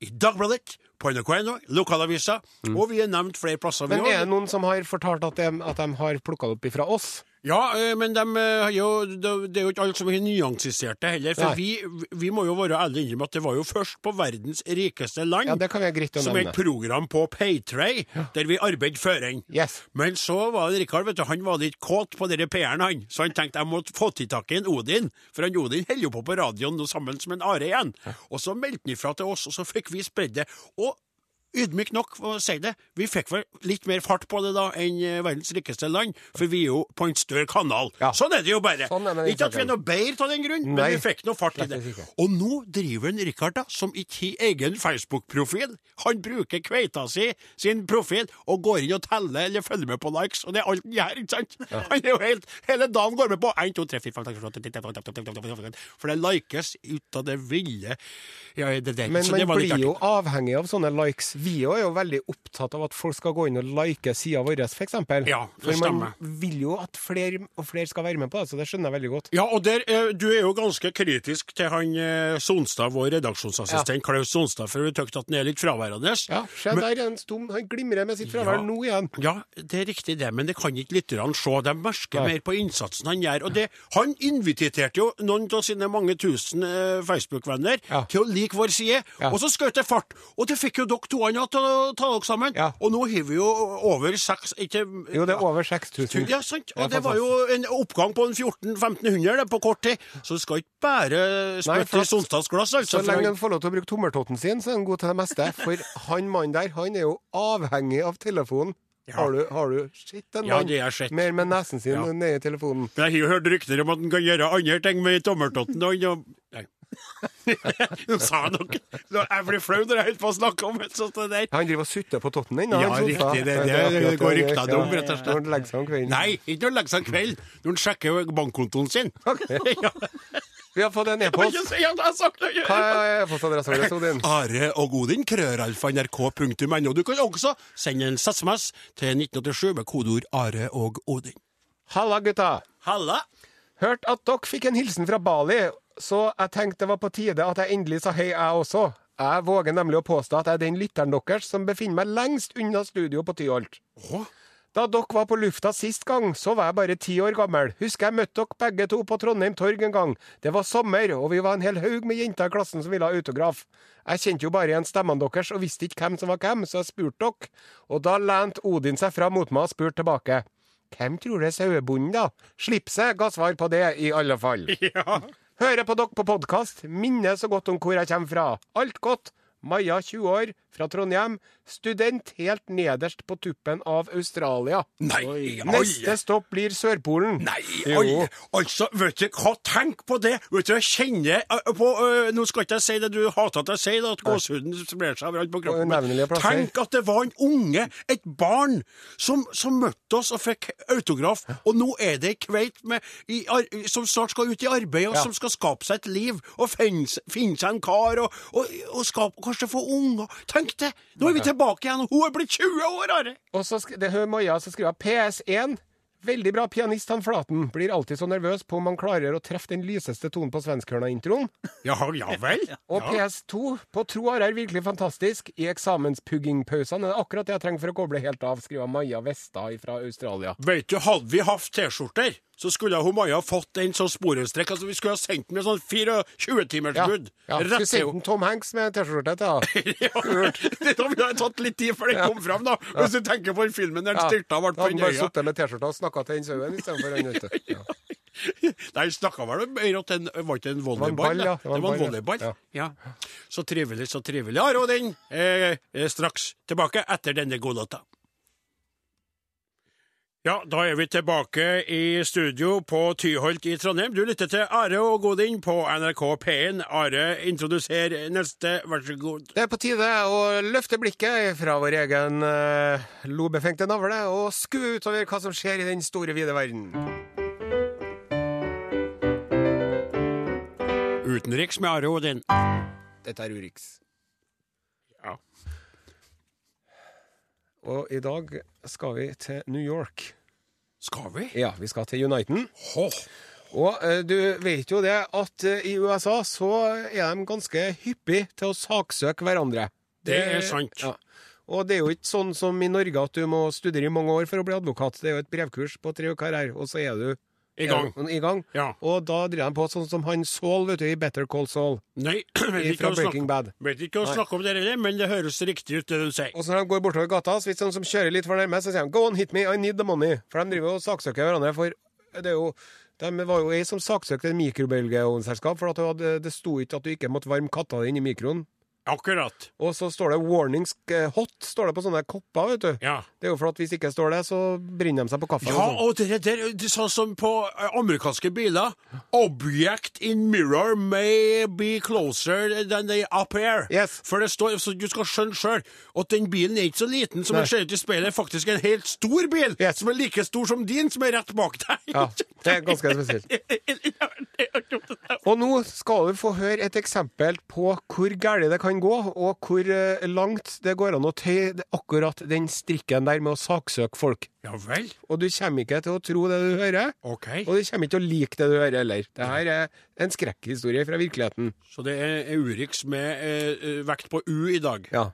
Speaker 4: i Dagbladet, på NRK1, lokalavisa, og vi er nevnt flere plasser. vi
Speaker 3: Mm. Men
Speaker 4: har.
Speaker 3: er det noen som har fortalt at de, at de har plukka det opp ifra oss?
Speaker 4: Ja, eh, men dem, eh, har jo, det det er jo ikke alle som har nyansisert det heller.
Speaker 3: Nei.
Speaker 4: For vi, vi må jo være ærlige og innrømme at det var jo først på verdens rikeste land
Speaker 3: Ja, det kan vi ha greit å
Speaker 4: som et
Speaker 3: nevne.
Speaker 4: program på Paytray, der vi arbeidet føren.
Speaker 3: Yes.
Speaker 4: Men så var det Rikard, vet du, han var litt kåt på denne P-en, han. Så han tenkte jeg må få til tak i en Odin, for han Odin holder jo på på radioen nå sammen som en are igjen. Og så meldte han ifra til oss, og så fikk vi spredd det. Og ydmyk nok, for å si det, vi fikk vel litt mer fart på det da enn eh, verdens rikeste land, for vi er jo på en større kanal.
Speaker 3: Ja.
Speaker 4: Sånn er det jo bare.
Speaker 3: Sånn er det,
Speaker 4: ikke at vi er noe bedre av den grunn, men
Speaker 3: Nei.
Speaker 4: vi fikk noe fart i det.
Speaker 3: Slett ikke.
Speaker 4: Og nå driver en Rikard, da, som ikke har egen Facebook-profil. Han bruker kveita si, sin profil, og går inn og teller eller følger med på likes, og det er alt han gjør, ikke sant? Han er jo helt Hele dagen går med på 1, 2, 3, 4, 5, 6, 7, 8, 9, 10, 11, 12, 13, 14, 15, 16, For det likes ut av det ville ja, det der.
Speaker 3: Men
Speaker 4: Så det
Speaker 3: man
Speaker 4: var litt
Speaker 3: blir
Speaker 4: artig.
Speaker 3: jo avhengig av sånne likes. Vi òg er jo veldig opptatt av at folk skal gå inn og like sida vår, f.eks.
Speaker 4: Ja, det
Speaker 3: for man
Speaker 4: stemmer.
Speaker 3: vil jo at flere og flere skal være med på det, så det skjønner jeg veldig godt.
Speaker 4: Ja, og der, eh, Du er jo ganske kritisk til han eh, Sonstad, vår redaksjonsassistent Klaus Sonstad, for du tykker at han er litt fraværende.
Speaker 3: Ja, se der er en stum, han glimrer med sitt fravær
Speaker 4: Ja.
Speaker 3: nå igjen.
Speaker 4: Ja, det er riktig det, men det kan ikke lytterne se. De merker
Speaker 3: Nei.
Speaker 4: mer på innsatsen han gjør. Og det, han inviterte jo noen av sine mange tusen eh, Facebook-venner
Speaker 3: Ja.
Speaker 4: til å like vår side,
Speaker 3: Ja.
Speaker 4: og så skjøt det fart. Og det fikk jo dere to andre til å ta dere sammen.
Speaker 3: Ja.
Speaker 4: Og nå har vi jo over seks ikke,
Speaker 3: Jo, det er over
Speaker 4: Tu-
Speaker 3: 6000.
Speaker 4: Ja, sant.
Speaker 3: Ja,
Speaker 4: Og det var jo en oppgang på en 1400-1500 det, på kort tid. Så det skal ikke bare
Speaker 3: Nei,
Speaker 4: spytte
Speaker 3: for
Speaker 4: i
Speaker 3: at-
Speaker 4: Sonstadsglass,
Speaker 3: Så
Speaker 4: altså. for
Speaker 3: lenge
Speaker 4: han-
Speaker 3: han får lov til å bruke tommeltotten sin, så er han god til det meste. For han mannen der, han er jo avhengig av telefonen. Har du, har du sett en
Speaker 4: Ja,
Speaker 3: mann
Speaker 4: det har jeg sett.
Speaker 3: mer med nesen sin
Speaker 4: Ja.
Speaker 3: nedi telefonen?
Speaker 4: Men jeg har jo hørt rykter om at han kan gjøre andre ting med tommeltotten. Og han Nei. Nå sa jeg noe. Nå, Jeg blir flau når jeg holder på å snakke om et sånt det der.
Speaker 3: Han driver og sutter på totten din. da,
Speaker 4: Ja,
Speaker 3: han som sa.
Speaker 4: riktig, det-
Speaker 3: Ja,
Speaker 4: det-
Speaker 3: er akkurat
Speaker 4: det går
Speaker 3: han gjør,
Speaker 4: ryktene
Speaker 3: ja.
Speaker 4: om, rett og slett.
Speaker 3: Når han legger seg om kvelden.
Speaker 4: Nei, ikke når han legger seg om kvelden, når han sjekker jo bankkontoen sin. Ja,
Speaker 3: Vi har fått en
Speaker 4: jeg må ikke
Speaker 3: e-post.
Speaker 4: si at jeg sa det.
Speaker 3: Hva er e-postadressen vår, Odin?
Speaker 4: Are og Odin, krøralfa.nrk.no. Du kan også sende en SMS til 1987 med kodeord Are og Odin.
Speaker 3: Halla, gutta.
Speaker 4: Halla!
Speaker 3: Hørt at dere fikk en hilsen fra Bali, så jeg tenkte det var på tide at jeg endelig sa hei, jeg også. Jeg våger nemlig å påstå at jeg er den lytteren deres som befinner meg lengst unna studio på Tyholt. Da dere var på lufta sist gang, så var jeg bare ti år gammel. Husker jeg møtte dere begge to på Trondheim torg en gang. Det var sommer, og vi var en hel haug med jenter i klassen som ville ha autograf. Jeg kjente jo bare igjen stemmene deres og visste ikke hvem som var hvem, så jeg spurte dere. Og da lente Odin seg fram mot meg og spurte tilbake. Hvem tror du er sauebonden, da? Slipset ga svar på det, i alle fall. Hører på dere på podkast, minner så godt om hvor jeg kommer fra. Alt godt. Maja, 20 år, fra Trondheim. Student helt nederst på tuppen av Australia.
Speaker 4: Nei,
Speaker 3: Neste
Speaker 4: alle!
Speaker 3: stopp blir Sørpolen.
Speaker 4: Nei,
Speaker 3: Jo.
Speaker 4: alle. altså, vet du hva, tenk på det! Vet du, jeg kjenner eh, på eh, Nå skal ikke jeg si det du hater at jeg sier, det, at gåsehuden sprer seg overalt på kroppen,
Speaker 3: Unevnelige plasser.
Speaker 4: tenk at det var en unge, et barn, som, som møtte oss og fikk autograf, og nå er det ei kveit med, i, ar- som snart skal ut i arbeid, og
Speaker 3: Ja.
Speaker 4: som skal skape seg et liv, og finne, s- finne seg en kar, og, og, og skape, kanskje få unger. Tenk det! Nå er vi tilbake igjen, og hun er blitt 20 år, Are!
Speaker 3: Og så sk det hører Maja som skriver PS1. Veldig bra pianist, han Flaten. Blir alltid så nervøs på om han klarer å treffe den lyseste tonen på svenskhørna-introen.
Speaker 4: Ja, ja vel?
Speaker 3: Og PS2 på tro har er virkelig fantastisk. I eksamenspuggingpausene er det akkurat det jeg trenger for å koble helt av, skriver Maja Vestad fra Australia.
Speaker 4: Vet du, hadde vi hatt T-skjorter, så skulle hun Maja fått en sånn sporenstrekk. Altså, vi skulle ha sendt den med sånn 24-timers
Speaker 3: Ja,
Speaker 4: bud.
Speaker 3: ja.
Speaker 4: Rett
Speaker 3: Skulle
Speaker 4: til
Speaker 3: sendt en Tom Hanks med T-skjorte til henne.
Speaker 4: Ja. Da ville det tatt litt tid før den kom fram, da. Hvis du tenker på den filmen der den styrta og ble
Speaker 3: Da
Speaker 4: på
Speaker 3: hadde han
Speaker 4: den
Speaker 3: bare
Speaker 4: øya.
Speaker 3: sittet med T-skjorta og snakka til den sauen istedenfor han, vet du. Ja.
Speaker 4: Nei, snakka vel om mer at den var ikke en
Speaker 3: ball,
Speaker 4: volleyball.
Speaker 3: ja.
Speaker 4: da. Det var en volleyball.
Speaker 3: ja.
Speaker 4: Ja. Så trivelig, så trivelig. Are og den eh, er straks tilbake etter denne godlåta. Ja, da er vi tilbake i studio på Tyholt i Trondheim. Du lytter til Are og Godin på NRK P1. Are, introduser neste, vær så god.
Speaker 3: Det er på tide å løfte blikket fra vår egen eh, lobefengte navle og skue utover hva som skjer i den store, vide verden.
Speaker 4: Utenriks med Are og Godin.
Speaker 3: Dette er Urix.
Speaker 4: Ja.
Speaker 3: Og i dag skal vi til New York.
Speaker 4: Skal vi?
Speaker 3: Ja, vi skal til Uniten.
Speaker 4: Hå.
Speaker 3: Og eh, du vet jo det at eh, i USA så er de ganske hyppige til å saksøke hverandre.
Speaker 4: Det er sant.
Speaker 3: Ja. Og det er jo ikke sånn som i Norge at du må studere i mange år for å bli advokat. Det er jo et brevkurs på tre uker her, og så er du
Speaker 4: I gang.
Speaker 3: er du I gang.
Speaker 4: Ja.
Speaker 3: Og da driver de på sånn som han Saul vet du, i Better Call Saul.
Speaker 4: Nei, vet ikke
Speaker 3: Fra
Speaker 4: hva du
Speaker 3: Breaking
Speaker 4: snakker
Speaker 3: Bad.
Speaker 4: Vet ikke hva å snakke om det heller, men det høres riktig ut, det du sier.
Speaker 3: Og så når de går bortover gata, så hvis de som kjører litt for nærme, så sier de 'Go on, hit me, I need the money'. For de driver og saksøker hverandre for det er jo de var jo ei som saksøkte et mikrobølgeovnselskap for at du hadde, det sto ikke at du ikke måtte varme katta di inn i mikroen.
Speaker 4: Akkurat.
Speaker 3: Og så står det 'warnings eh, hot' står det på sånne kopper, vet du.
Speaker 4: Ja.
Speaker 3: Det er jo for at hvis ikke står det, så brenner de seg på kaffen.
Speaker 4: Ja, og det der, det er sånn som på eh, amerikanske biler. Object in mirror may be closer than they appear.
Speaker 3: Yes.
Speaker 4: For det står, så du skal skjønne sjøl at den bilen er ikke så liten som
Speaker 3: Nei.
Speaker 4: den ser ut i speilet. Det er Faktisk en helt stor bil,
Speaker 3: Yes.
Speaker 4: som er like stor som din, som er rett bak deg.
Speaker 3: Ja, det er ganske spesielt. Og nå skal du få høre et eksempel på hvor galt det kan gå, og hvor eh, langt det går an å tøye det- akkurat den strikken der med å saksøke folk.
Speaker 4: Ja vel.
Speaker 3: Og du kommer ikke til å tro det du hører,
Speaker 4: OK.
Speaker 3: og du kommer ikke til å like det du hører heller. Det her er en skrekkhistorie fra virkeligheten.
Speaker 4: Så det er Urix med eh, eh, vekt på U i dag.
Speaker 3: Ja.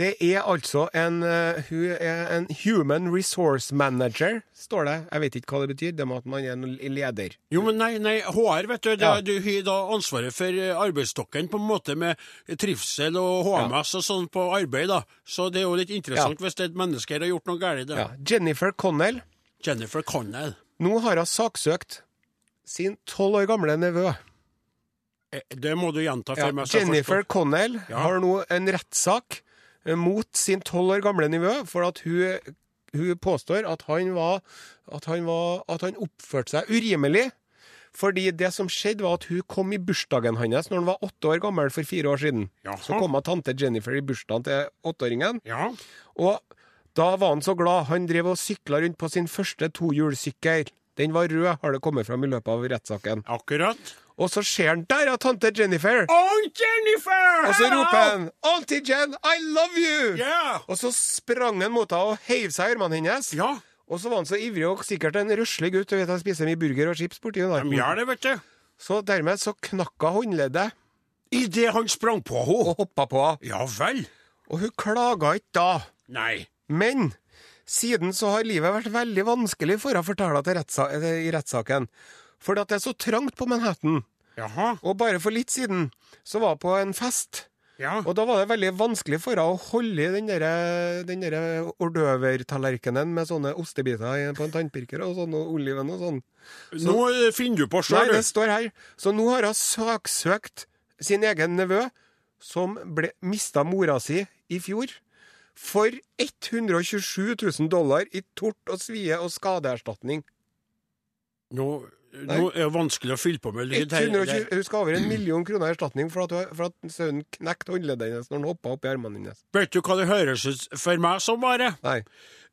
Speaker 3: Det er altså en, eh, hun er en human resource manager, står det. Jeg vet ikke hva det betyr, det må at man er en leder.
Speaker 4: Jo, men nei, nei HR, vet du. Det,
Speaker 3: Ja.
Speaker 4: Du har da ansvaret for eh, arbeidsstokken på en måte med trivsel og HMS og sånn på arbeid, da. Så det er jo litt interessant hvis det er et menneske her har gjort noe galt.
Speaker 3: Ja.
Speaker 4: da.
Speaker 3: Jennifer Connell.
Speaker 4: Jennifer Connell.
Speaker 3: Nå har hun saksøkt sin tolv år gamle nevø.
Speaker 4: Eh, Det må du gjenta for
Speaker 3: Ja,
Speaker 4: meg. så jeg
Speaker 3: Jennifer
Speaker 4: forstår.
Speaker 3: Connell
Speaker 4: Ja.
Speaker 3: har nå en rettssak eh, mot sin tolv år gamle nevø for at hun, hun påstår at han, var, at, han var, at han oppførte seg urimelig. Fordi det som skjedde, var at hun kom i bursdagen hans når han var åtte år gammel for fire år siden.
Speaker 4: Jaha.
Speaker 3: Så kom hun tante Jennifer i bursdagen til åtteåringen.
Speaker 4: Ja.
Speaker 3: Og da var han så glad. Han drev og sykla rundt på sin første tohjulssykkel. Den var rød, har det kommet fram i løpet av rettssaken.
Speaker 4: Akkurat.
Speaker 3: Og så ser han der av tante Jennifer!
Speaker 4: Aunt Jennifer!
Speaker 3: Og så
Speaker 4: hello!
Speaker 3: roper han 'Auntie Jen, I love you!'
Speaker 4: Ja.
Speaker 3: Og så sprang han mot henne og heiv seg i armene hennes.
Speaker 4: Ja,
Speaker 3: Og så var han så ivrig og sikkert en røslig gutt. Du vet han spiser mye burger og chips borti der.
Speaker 4: de gjør det, vet du.
Speaker 3: Så dermed så knakk hun håndleddet
Speaker 4: Idet han sprang på henne.
Speaker 3: og hoppa på henne.
Speaker 4: Ja vel.
Speaker 3: Og hun klaga ikke da.
Speaker 4: Nei.
Speaker 3: Men siden så har livet vært veldig vanskelig for henne, forteller hun til rettsa- eh, i rettssaken. Fordi at det er så trangt på Manhattan.
Speaker 4: Jaha.
Speaker 3: Og bare for litt siden så var hun på en fest.
Speaker 4: Ja.
Speaker 3: Og da var det veldig vanskelig for henne å holde i den derre- den derre ordøvertallerkenen med sånne ostebiter i- på en tannpirker og sånn, og oliven og sånn.
Speaker 4: Nå eh, finner du på
Speaker 3: Nei,
Speaker 4: sjøl,
Speaker 3: det
Speaker 4: du.
Speaker 3: står her. Så nå har hun saksøkt sin egen nevø, som ble, mista mora si i fjor, for 127 000 dollar i tort og svie og skadeerstatning.
Speaker 4: Nå, nå er det vanskelig å fylle på med lyd her.
Speaker 3: 120, hun skal ha over en million kroner i erstatning for at, hun- for at sønnen knekte håndleddet hennes når han hoppa opp i armene hennes.
Speaker 4: Vet du hva det høres ut for meg som bare?
Speaker 3: Nei.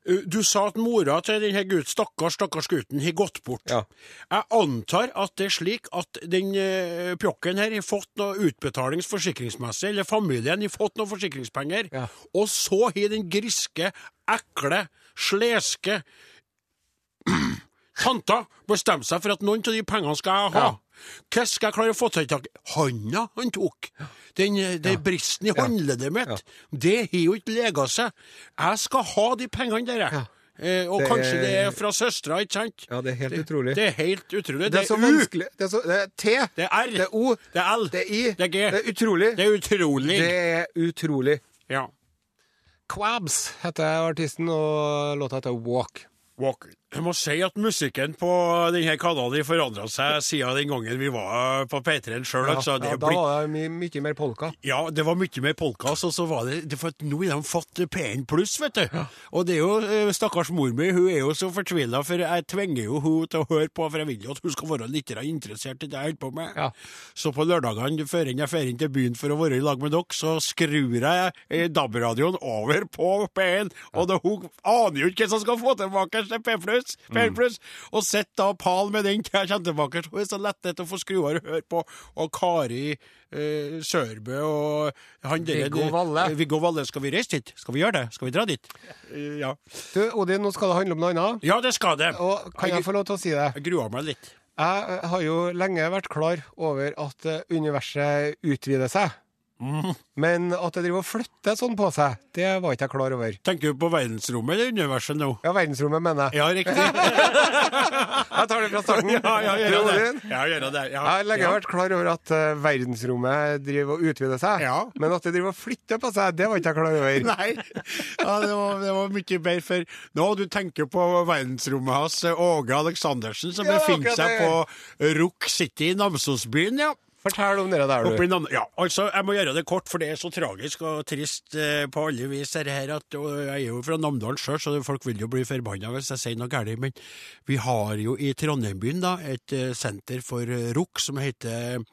Speaker 4: Uh, Du sa at mora til denne gutt, stakkars, stakkars gutten har gått bort.
Speaker 3: Ja.
Speaker 4: Jeg antar at det er slik at den eh, pjokken her har fått noe utbetalingsforsikringsmessig, eller familien har fått noe forsikringspenger,
Speaker 3: Ja.
Speaker 4: og så har den griske, ekle, sleske tanta bestemt seg for at noen av de pengene skal jeg ha.
Speaker 3: Ja.
Speaker 4: Hva skal jeg klare å få til i tak? Hånda han tok, den, eh, det bristen i håndleddet mitt, det har jo ikke lega seg. Jeg skal ha de pengene der, jeg.
Speaker 3: Ja.
Speaker 4: Eh, og
Speaker 3: Det
Speaker 4: kanskje det
Speaker 3: er-
Speaker 4: er fra søstera, ikke sant?
Speaker 3: Ja, det er helt utrolig.
Speaker 4: Det er helt utrolig.
Speaker 3: Det er så
Speaker 4: U,
Speaker 3: vanskelig Det er, så, det er T.
Speaker 4: det er R,
Speaker 3: Det er O.
Speaker 4: det er L,
Speaker 3: Det er I.
Speaker 4: det er G.
Speaker 3: Det er utrolig.
Speaker 4: Det er utrolig.
Speaker 3: Det er utrolig.
Speaker 4: Ja.
Speaker 3: Quabs heter artisten, og låta heter Walk.
Speaker 4: Walk. Jeg må si at musikken på denne kanalen forandra seg siden den gangen vi var på P3 sjøl.
Speaker 3: Ja,
Speaker 4: altså, det
Speaker 3: ja,
Speaker 4: er
Speaker 3: da
Speaker 4: blitt-
Speaker 3: var det mye, mye mer polka.
Speaker 4: Ja, det var mye mer podkast, og så var det, det for at Nå har de fått P1 pluss, vet du. Og det er jo eh, Stakkars mor mi, hun er jo så fortvila, for jeg tvinger jo hun til å høre på, for jeg vil jo at hun skal være litt grann interessert i det jeg holder på med.
Speaker 3: Ja.
Speaker 4: Så på lørdagene før jeg drar inn til byen for å være i lag med dere, så skrur jeg eh, DAB-radioen over på P1, og da, hun aner jo ikke hva som skal få tilbake til P1 pluss, P1 pluss, og sitter da pal med den til jeg kommer tilbake, så hun er så lettet å få skru over og høre på, og Kari eh, Sørbø og han der-
Speaker 3: Viggo Valle.
Speaker 4: Eh, Viggo Valle, skal vi reise dit? Skal vi gjøre det? Skal vi dra dit? Eh, ja.
Speaker 3: Du, Odin, nå skal det handle om noe annet.
Speaker 4: ja, det skal det.
Speaker 3: Og kan jeg få lov til å si det?
Speaker 4: Jeg gruer meg litt.
Speaker 3: Jeg eh, har jo lenge vært klar over at eh, universet utvider seg.
Speaker 4: Mm.
Speaker 3: Men at det driver og flytter sånn på seg, det var ikke jeg klar over.
Speaker 4: Tenker du på verdensrommet eller universet nå?
Speaker 3: Ja, verdensrommet, mener jeg.
Speaker 4: Ja, riktig.
Speaker 3: Jeg tar det fra starten.
Speaker 4: Ja, ja, gjør
Speaker 3: Tror du
Speaker 4: det.
Speaker 3: den?
Speaker 4: Ja, gjør det. Ja.
Speaker 3: Jeg har lenge vært klar over at eh, verdensrommet driver og utvider seg,
Speaker 4: Ja.
Speaker 3: men at det driver og flytter på seg, det var ikke jeg klar over.
Speaker 4: Nei, ja, det, var, det var mye bedre for Nå du tenker på verdensrommet hans, Åge Aleksandersen, som
Speaker 3: Ja, det er
Speaker 4: befinner
Speaker 3: akkurat
Speaker 4: seg
Speaker 3: det.
Speaker 4: på Rook City i Namsosbyen, ja.
Speaker 3: Fortell om det der,
Speaker 4: Oppe
Speaker 3: du.
Speaker 4: i Nam ja, altså, jeg må gjøre det kort, for det er så tragisk og trist eh, på alle vis. Det her at, og jeg er jo fra Namdalen sjøl, så folk vil jo bli forbanna hvis jeg sier noe galt. Men vi har jo i Trondheimbyen da, et eh, senter for eh, rock som heter eh,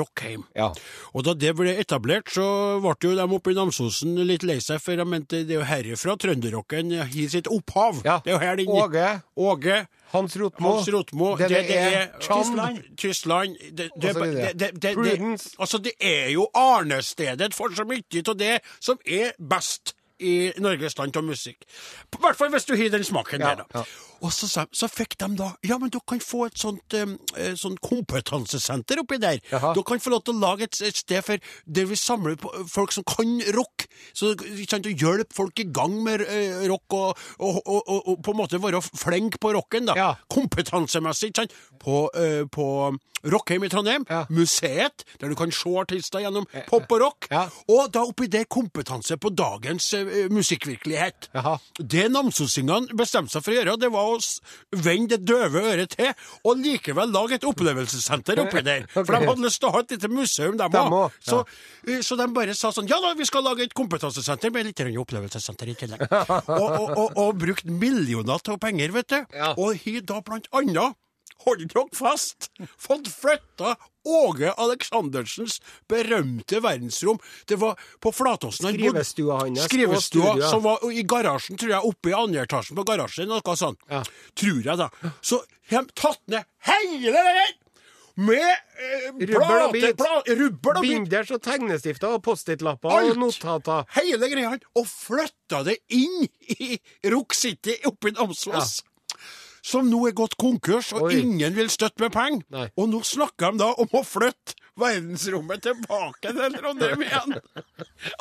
Speaker 4: Rockheim.
Speaker 3: Ja.
Speaker 4: Og da det ble etablert, så ble jo de oppe i Namsosen litt lei seg, for de mente det er jo herifra trønderrocken har sitt opphav.
Speaker 3: Ja.
Speaker 4: Det er jo her den
Speaker 3: Åge.
Speaker 4: Åge.
Speaker 3: Hans Rotmo.
Speaker 4: Hans Rotmo,
Speaker 3: Det, det er
Speaker 4: Tyskland. Tyskland det, det,
Speaker 3: Og så videre.
Speaker 4: det, det, det, det,
Speaker 3: Prudence.
Speaker 4: altså, det er jo arnestedet for så mye av det som er best i Norges land av musikk. I hvert fall hvis du har den smaken
Speaker 3: Ja,
Speaker 4: der, da.
Speaker 3: ja.
Speaker 4: Og så, sa- så fikk de da Ja, men dere kan få et sånt, um, eh, sånt kompetansesenter oppi der.
Speaker 3: Jaha.
Speaker 4: Dere kan få lov til å lage et, et sted for der vi samler på eh, folk som kan rock. Så ikke sant, å hjelpe folk i gang med eh, rock, og, og, og, og, og på en måte være flink på rocken, da.
Speaker 3: Ja.
Speaker 4: Kompetansemessig, ikke sant. På, eh, på Rockheim i Trondheim,
Speaker 3: Ja.
Speaker 4: museet, der du kan se artister gjennom pop og rock.
Speaker 3: Ja.
Speaker 4: Og da oppi der kompetanse på dagens eh, musikkvirkelighet.
Speaker 3: Jaha.
Speaker 4: Det namsosingene bestemte seg for å gjøre, det var å s- vende det døve øret til, og likevel lage et opplevelsessenter oppi der. For de hadde lyst til å ha et lite museum, de
Speaker 3: Dem
Speaker 4: òg.
Speaker 3: også,
Speaker 4: Så, eh, så de bare sa sånn Ja da, vi skal lage et kompetansesenter med litt grann opplevelsessenter i tillegg. og, og, og, og brukt millioner av penger, vet du.
Speaker 3: Ja.
Speaker 4: Og har da blant annet Hold dere fast! Fått flytta Åge Aleksandersens berømte verdensrom. Det var på Flatåsen han bodde.
Speaker 3: Skrivestua hans og
Speaker 4: Skrivestua
Speaker 3: studioet.
Speaker 4: som var i garasjen, tror jeg, oppe i andre etasjen på garasjen, noe sånt.
Speaker 3: Ja.
Speaker 4: Tror jeg, da. Så har de tatt ned hele det der! Med eh,
Speaker 3: Rubbel og bit.
Speaker 4: pla- rubbel og bit.
Speaker 3: Binders og tegnestifter og Post-It-lapper
Speaker 4: Alt.
Speaker 3: og notater.
Speaker 4: Hele greia. Og flytta det inn i Rock City oppe i Namsos. Som nå er gått konkurs, og
Speaker 3: Oi.
Speaker 4: ingen vil støtte med penger.
Speaker 3: Nei.
Speaker 4: Og nå snakker de da om å flytte verdensrommet tilbake til Trondheim igjen.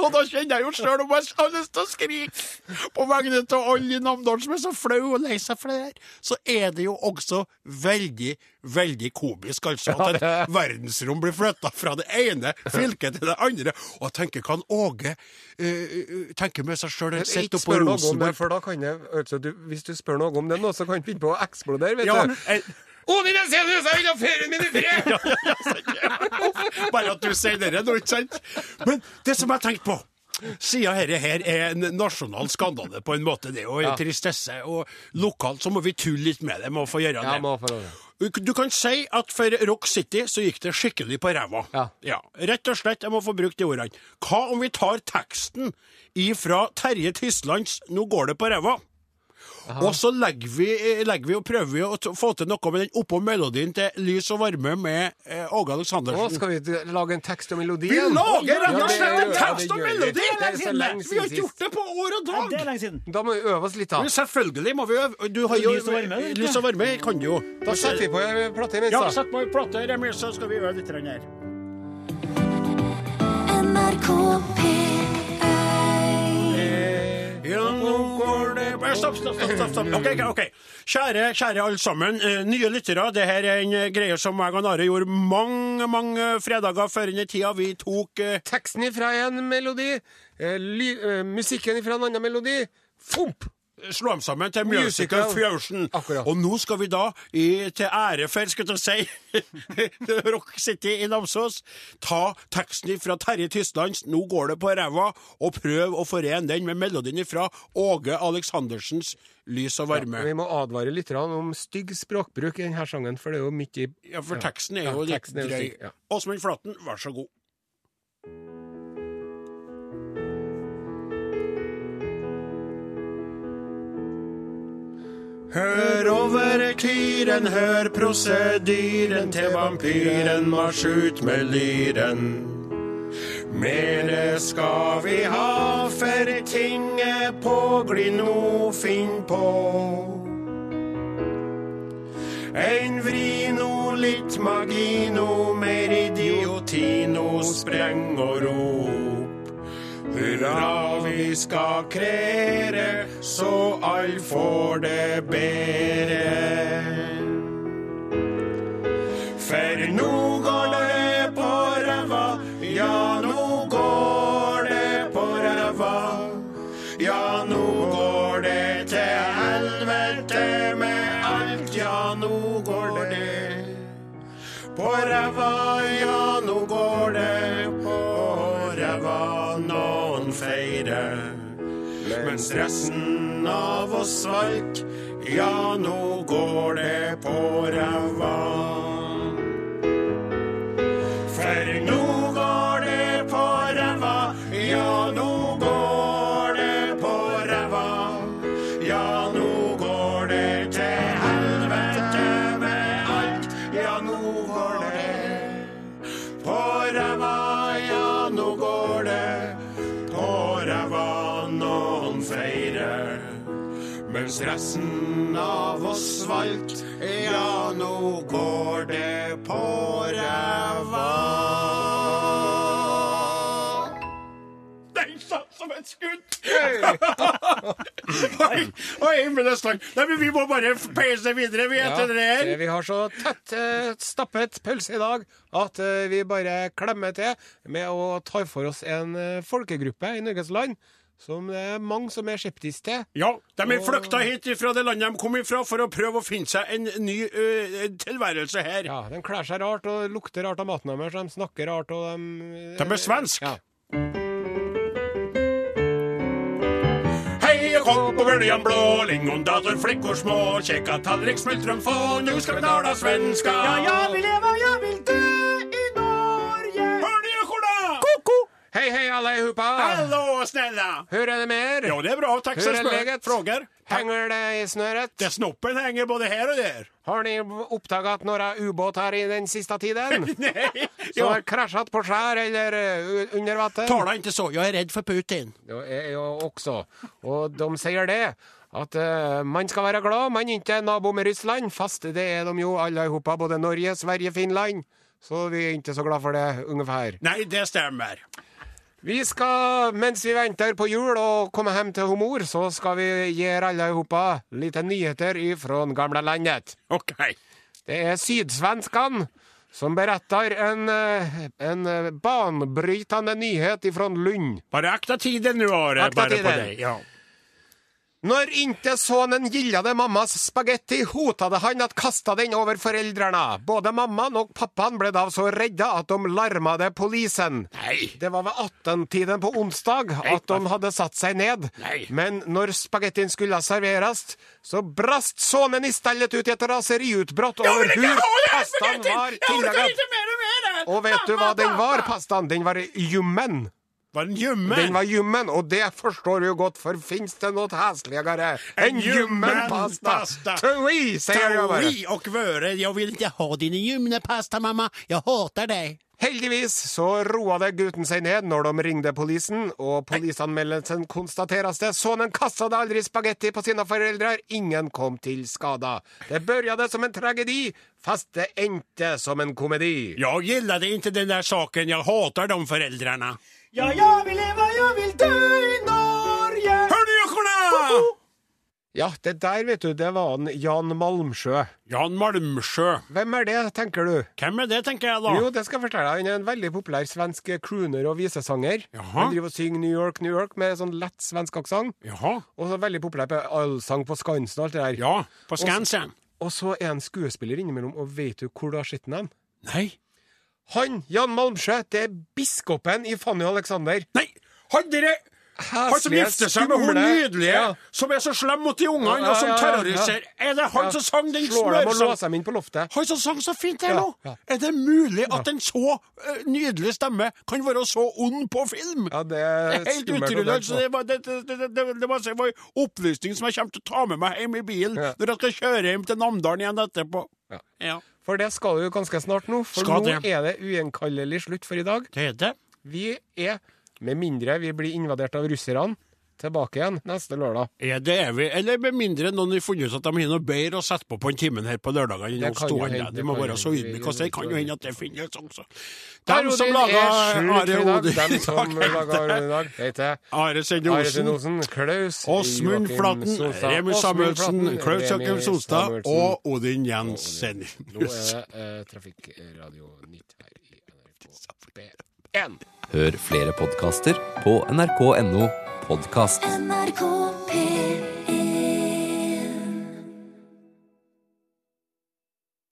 Speaker 4: og da kjenner jeg jo sjøl om jeg har lyst til å skrike på vegne av alle i Namdalen som er så flau og lei seg for det her. Så er det jo også veldig, veldig komisk, altså. At et verdensrom blir flytta fra det ene fylket til det andre. Og jeg tenker kan Åge eh, tenke med seg sjøl Sett
Speaker 3: Ikke
Speaker 4: opp på
Speaker 3: spør noe om det,
Speaker 4: Rosenborg
Speaker 3: for da kan jeg, altså, du, hvis du spør noe om det nå, så kan du finne på å eksplodere, vet
Speaker 4: Ja,
Speaker 3: du.
Speaker 4: eh,
Speaker 3: Odin Jensenius, jeg vil ha ferien min i fred!
Speaker 4: Bare at du sier det nå, ikke sant? Men det som jeg tenkte på siden dette her er en nasjonal skandale, på en måte, det er jo en tristesse. Og lokalt så må vi tulle litt med det. Må få gjøre
Speaker 3: Ja,
Speaker 4: det.
Speaker 3: må få gjøre det.
Speaker 4: Du kan si at for Rock City så gikk det skikkelig på ræva.
Speaker 3: Ja.
Speaker 4: Rett og slett, jeg må få bruke de ordene. Hva om vi tar teksten ifra Terje Tyslands 'Nå går det på ræva'? Og så legger vi, eh, legger vi og prøver vi å t- få til noe med den oppå melodien til 'Lys og varme' med eh, Åge
Speaker 3: Nå
Speaker 4: Aleksandersen.
Speaker 3: skal vi d- lage en tekst og melodi.
Speaker 4: Vi
Speaker 3: igjen.
Speaker 4: lager rett
Speaker 3: Ja,
Speaker 4: og
Speaker 3: det
Speaker 4: slett
Speaker 3: gjør
Speaker 4: en
Speaker 3: vi.
Speaker 4: tekst og
Speaker 3: Ja, det gjør
Speaker 4: melodi!
Speaker 3: vi.
Speaker 4: Det er så lenge siden Vi har
Speaker 3: siden
Speaker 4: ikke gjort det på år og dag!
Speaker 6: Det er lenge siden.
Speaker 3: sist. Da må vi øve oss litt, da.
Speaker 4: Men selvfølgelig må vi øve. Du har jo
Speaker 6: Lys og varme, vet du.
Speaker 4: Lys og varme kan du jo.
Speaker 3: Da setter vi på en plate imens,
Speaker 4: Ja,
Speaker 3: da.
Speaker 4: sett meg i plate, Remi, så skal vi øve litt her.
Speaker 1: NRK P1
Speaker 4: Ja, nå går det Nei, Stopp, stopp, Mm. stopp. stopp, stopp. Ok, ok, ok. Kjære, kjære alle sammen. eh, Nye lyttere. Det her er en eh, greie som jeg og Are gjorde mange mange fredager før den tida vi tok eh,
Speaker 3: Teksten ifra en melodi, eh, ly, eh, musikken ifra en annen melodi. Fomp!
Speaker 4: slå dem sammen til
Speaker 3: Musical.
Speaker 4: Musical Fusion.
Speaker 3: Akkurat.
Speaker 4: Og nå skal vi da, i, til ære for, skal jeg si, Rock City i Namsos, ta teksten fra Terje Tyslands 'Nå går det på ræva', og prøve å forene den med melodien fra Åge Aleksandersens 'Lys og varme'.
Speaker 3: Vi må advare litt grann om stygg språkbruk i denne sangen, for det er jo mye i
Speaker 4: Ja, for teksten er
Speaker 3: Ja,
Speaker 4: jo litt
Speaker 3: teksten er jo
Speaker 4: drøy.
Speaker 3: syk, ja.
Speaker 4: Åsmund Flaten, vær så god. Hør over tyren, hør prosedyren til vampyren, marsj ut med lyren. Mere skal vi ha, for tinget påglir nå, finn på. En vri no, litt magi no, mer idioti no,
Speaker 2: spreng og rop. Hurra, vi skal krere, så all får det bedre. For nå går det på ræva, ja, nå går det på ræva. Ja, nå går det til helvete med alt, ja, nå går det på ræva, ja, nå går det på ræva. Noen feirer, mens resten av oss valk, ja, nå går det på ræva. For nå går det på ræva, ja nå går det på ræva. Ja nå går det til helvete med alt, ja nå går det på ræva, ja nå går det på ræva. Noen feirer, mens resten av oss valgt, ja nå går det på ræva. Den satt som et skudd!
Speaker 4: Oi, oi, himmelens lang. Nei, men vi må bare f- peise videre, vi,
Speaker 3: Ja,
Speaker 4: etter det her.
Speaker 3: det- vi har så tett eh, stappet pølse i dag at eh, vi bare klemmer til med å ta for oss en eh, folkegruppe i Norges land som det er mange som er skeptiske til.
Speaker 4: Ja, de er flykta hit fra det landet de kom ifra, for å prøve å finne seg en ny ø, tilværelse her.
Speaker 3: Ja, De kler seg rart og lukter rart av maten deres, de snakker rart og de
Speaker 4: De er svensk.
Speaker 3: Ja.
Speaker 2: Hei og kom på bøljan blå, lingondator, flickor små, kjekka tallrik, smultron få, nu skal vi tala svenska. Ja, jag vill leva, jag vill dö i Norge. Hör ni och kolla! Koko!
Speaker 3: Hei, hei, alle i hupa!
Speaker 4: Hallå, snälla!
Speaker 3: Hur er det mer?
Speaker 4: Ja, det är bra. Tack
Speaker 3: Hur
Speaker 4: så
Speaker 3: är läget?
Speaker 4: mycket. Frågor?
Speaker 3: Henger det i snøret?
Speaker 4: Det snoppen hänger både här och där.
Speaker 3: Har ni oppdaget noen ubåt her i den siste tiden?
Speaker 4: Nej,
Speaker 3: Som
Speaker 4: jag
Speaker 3: har krasjet på skjær eller eh, u- under vann?
Speaker 4: talar inte så. Jag är rädd för Putin.
Speaker 3: Det er jo også. Og de sier det. At eh, man skal være glad man ikke er nabo med Russland. Fast det er de jo alle i hopa, både Norge, Sverige, Finland. Så vi er ikke så glad for det, ungefær.
Speaker 4: Nej, det stämmer.
Speaker 3: Vi skal, mens vi venter på jul og kommer hjem til mor, så skal vi gi alle i hopa litt nyheter ifra gamlelandet.
Speaker 4: Okej.
Speaker 3: Det er sydsvenskene som beretter en, eh, en eh, banbrytende nyhet ifra Lund.
Speaker 4: Bara akta tiden nu, Are.
Speaker 3: Akta
Speaker 4: bara På
Speaker 3: tiden.
Speaker 4: dig. Ja.
Speaker 3: Når inte sonen gillade mammas spagetti hotade han att kasta den över föräldrarna. Både mamman och pappan blev då så rädda att de larmade polisen.
Speaker 4: Nej.
Speaker 3: Det var vid 18-tiden på onsdag att de hade satt sig ned.
Speaker 4: Nej.
Speaker 3: Men när spagettin skulle serveras så brast sonen istället ut i ett raseriutbrott
Speaker 4: Jag vill
Speaker 3: över
Speaker 4: inte
Speaker 3: hur
Speaker 4: ha det här
Speaker 3: pastan
Speaker 4: spagettin!
Speaker 3: var
Speaker 4: Jag orkar
Speaker 3: tillagad.
Speaker 4: inte med det mer!
Speaker 3: Och vet du vad den var, pastan? Den var ljummen.
Speaker 4: Var den ljummen?
Speaker 3: Den var ljummen, og det forstår du jo godt, for fins det noe hesligere enn
Speaker 4: En
Speaker 3: ljummen
Speaker 4: ljummen
Speaker 3: pasta?
Speaker 4: pasta.
Speaker 3: Tui, sier jeg bare.
Speaker 4: Tauri och vöre. Jag vill inte ha din ljumna pasta, mamma. Jag hatar dig.
Speaker 3: Heldigvis så roa det gutten seg ned når de ringte polisen, og politianmeldelsen konstateres det. Sønnen kasta det aldri spagetti på sine foreldre, ingen kom til skada. Det begynte som en tragedi, fast det endte som en komedi.
Speaker 4: Jag gillade inte den där saken. Jag hatar de föräldrarna.
Speaker 2: Ja, jag vill leva, jag vill dö i Norge.
Speaker 4: Hör ni, jockarna?
Speaker 3: Ja, det der, vet du, det var han Jan Malmsjø.
Speaker 4: Jan Malmsjø.
Speaker 3: Hvem er det, tenker du?
Speaker 4: Hvem er det, tenker jeg da?
Speaker 3: Jo, det skal jeg fortelle deg. Han er en veldig populær svensk crooner og visesanger.
Speaker 4: Jaha.
Speaker 3: Han driver og synger New York, New York med sånn lett svensk aksent.
Speaker 4: Jaha.
Speaker 3: Og så veldig populær på allsang på Skansen og alt det der.
Speaker 4: Ja, på Skansen.
Speaker 3: Og så er han skuespiller innimellom, og vet du hvor du har sett ham?
Speaker 4: Nei.
Speaker 3: Han, Jan Malmsjø, det er biskopen i Fanny og Alexander.
Speaker 4: Nei! Han dere han som
Speaker 3: Heslige,
Speaker 4: gifter seg med hun
Speaker 3: skumle.
Speaker 4: nydelige,
Speaker 3: Ja.
Speaker 4: som er så slem mot de ungene,
Speaker 3: Ja, ja,
Speaker 4: og som
Speaker 3: ja, ja,
Speaker 4: terroriserer Er det han
Speaker 3: Ja.
Speaker 4: som sang den
Speaker 3: Slår dem og
Speaker 4: smørsangen?
Speaker 3: låser dem inn på loftet.
Speaker 4: Han som sang så fint her
Speaker 3: Ja,
Speaker 4: nå!
Speaker 3: ja.
Speaker 4: Er det mulig at en så eh, nydelig stemme kan være så ond på film?
Speaker 3: Ja, det er
Speaker 4: Det er Helt
Speaker 3: skummelt å
Speaker 4: utrolig.
Speaker 3: tenke
Speaker 4: altså,
Speaker 3: på.
Speaker 4: Det var, det, det, det, det, det, det var- det var en opplysning som jeg kommer til å ta med meg hjem i bilen
Speaker 3: Ja.
Speaker 4: når jeg skal kjøre hjem til Namdalen igjen etterpå.
Speaker 3: Ja.
Speaker 4: Ja.
Speaker 3: For det skal du jo ganske snart nå, for
Speaker 4: Skal
Speaker 3: nå
Speaker 4: det.
Speaker 3: er det ugjenkallelig slutt for i dag.
Speaker 4: Det er det.
Speaker 3: Vi er, med mindre vi blir invadert av russerne, tilbake igjen neste lørdag.
Speaker 4: Er det evig? Eller med mindre noen har funnet ut at de har noe bedre å sette på på en time her på lørdagene enn
Speaker 3: Det
Speaker 4: å
Speaker 3: kan jo
Speaker 4: stå igjen.
Speaker 3: hende,
Speaker 4: De
Speaker 3: det
Speaker 4: må
Speaker 3: kan
Speaker 4: være
Speaker 3: jo
Speaker 4: så
Speaker 3: hende,
Speaker 4: ydmyke
Speaker 3: det
Speaker 4: og si
Speaker 3: kan
Speaker 4: kan
Speaker 3: jo
Speaker 4: jo hende at det finnes også.
Speaker 3: Per
Speaker 4: De som
Speaker 3: Odin
Speaker 4: laga
Speaker 3: er sjuk i dag.
Speaker 4: Are Odin
Speaker 3: Dem som laga Are Odin i
Speaker 4: Are
Speaker 3: dag, heter
Speaker 4: Sende
Speaker 3: Are Sinde
Speaker 4: Osen,
Speaker 3: Osen, Klaus Joakim
Speaker 4: Åsmund Flaten,
Speaker 3: Solstad,
Speaker 4: Remi
Speaker 3: Åsmund
Speaker 4: Samuelsen,
Speaker 3: Flaten,
Speaker 4: Klaus
Speaker 3: Remi
Speaker 4: Jakob Solstad
Speaker 3: Samuelsen.
Speaker 4: og Odin Jensen.
Speaker 3: Nå er det eh, Trafikkradio Nytt her i NRK P1.
Speaker 7: Hør flere podkaster på nrk.no podkast.
Speaker 1: NRK P1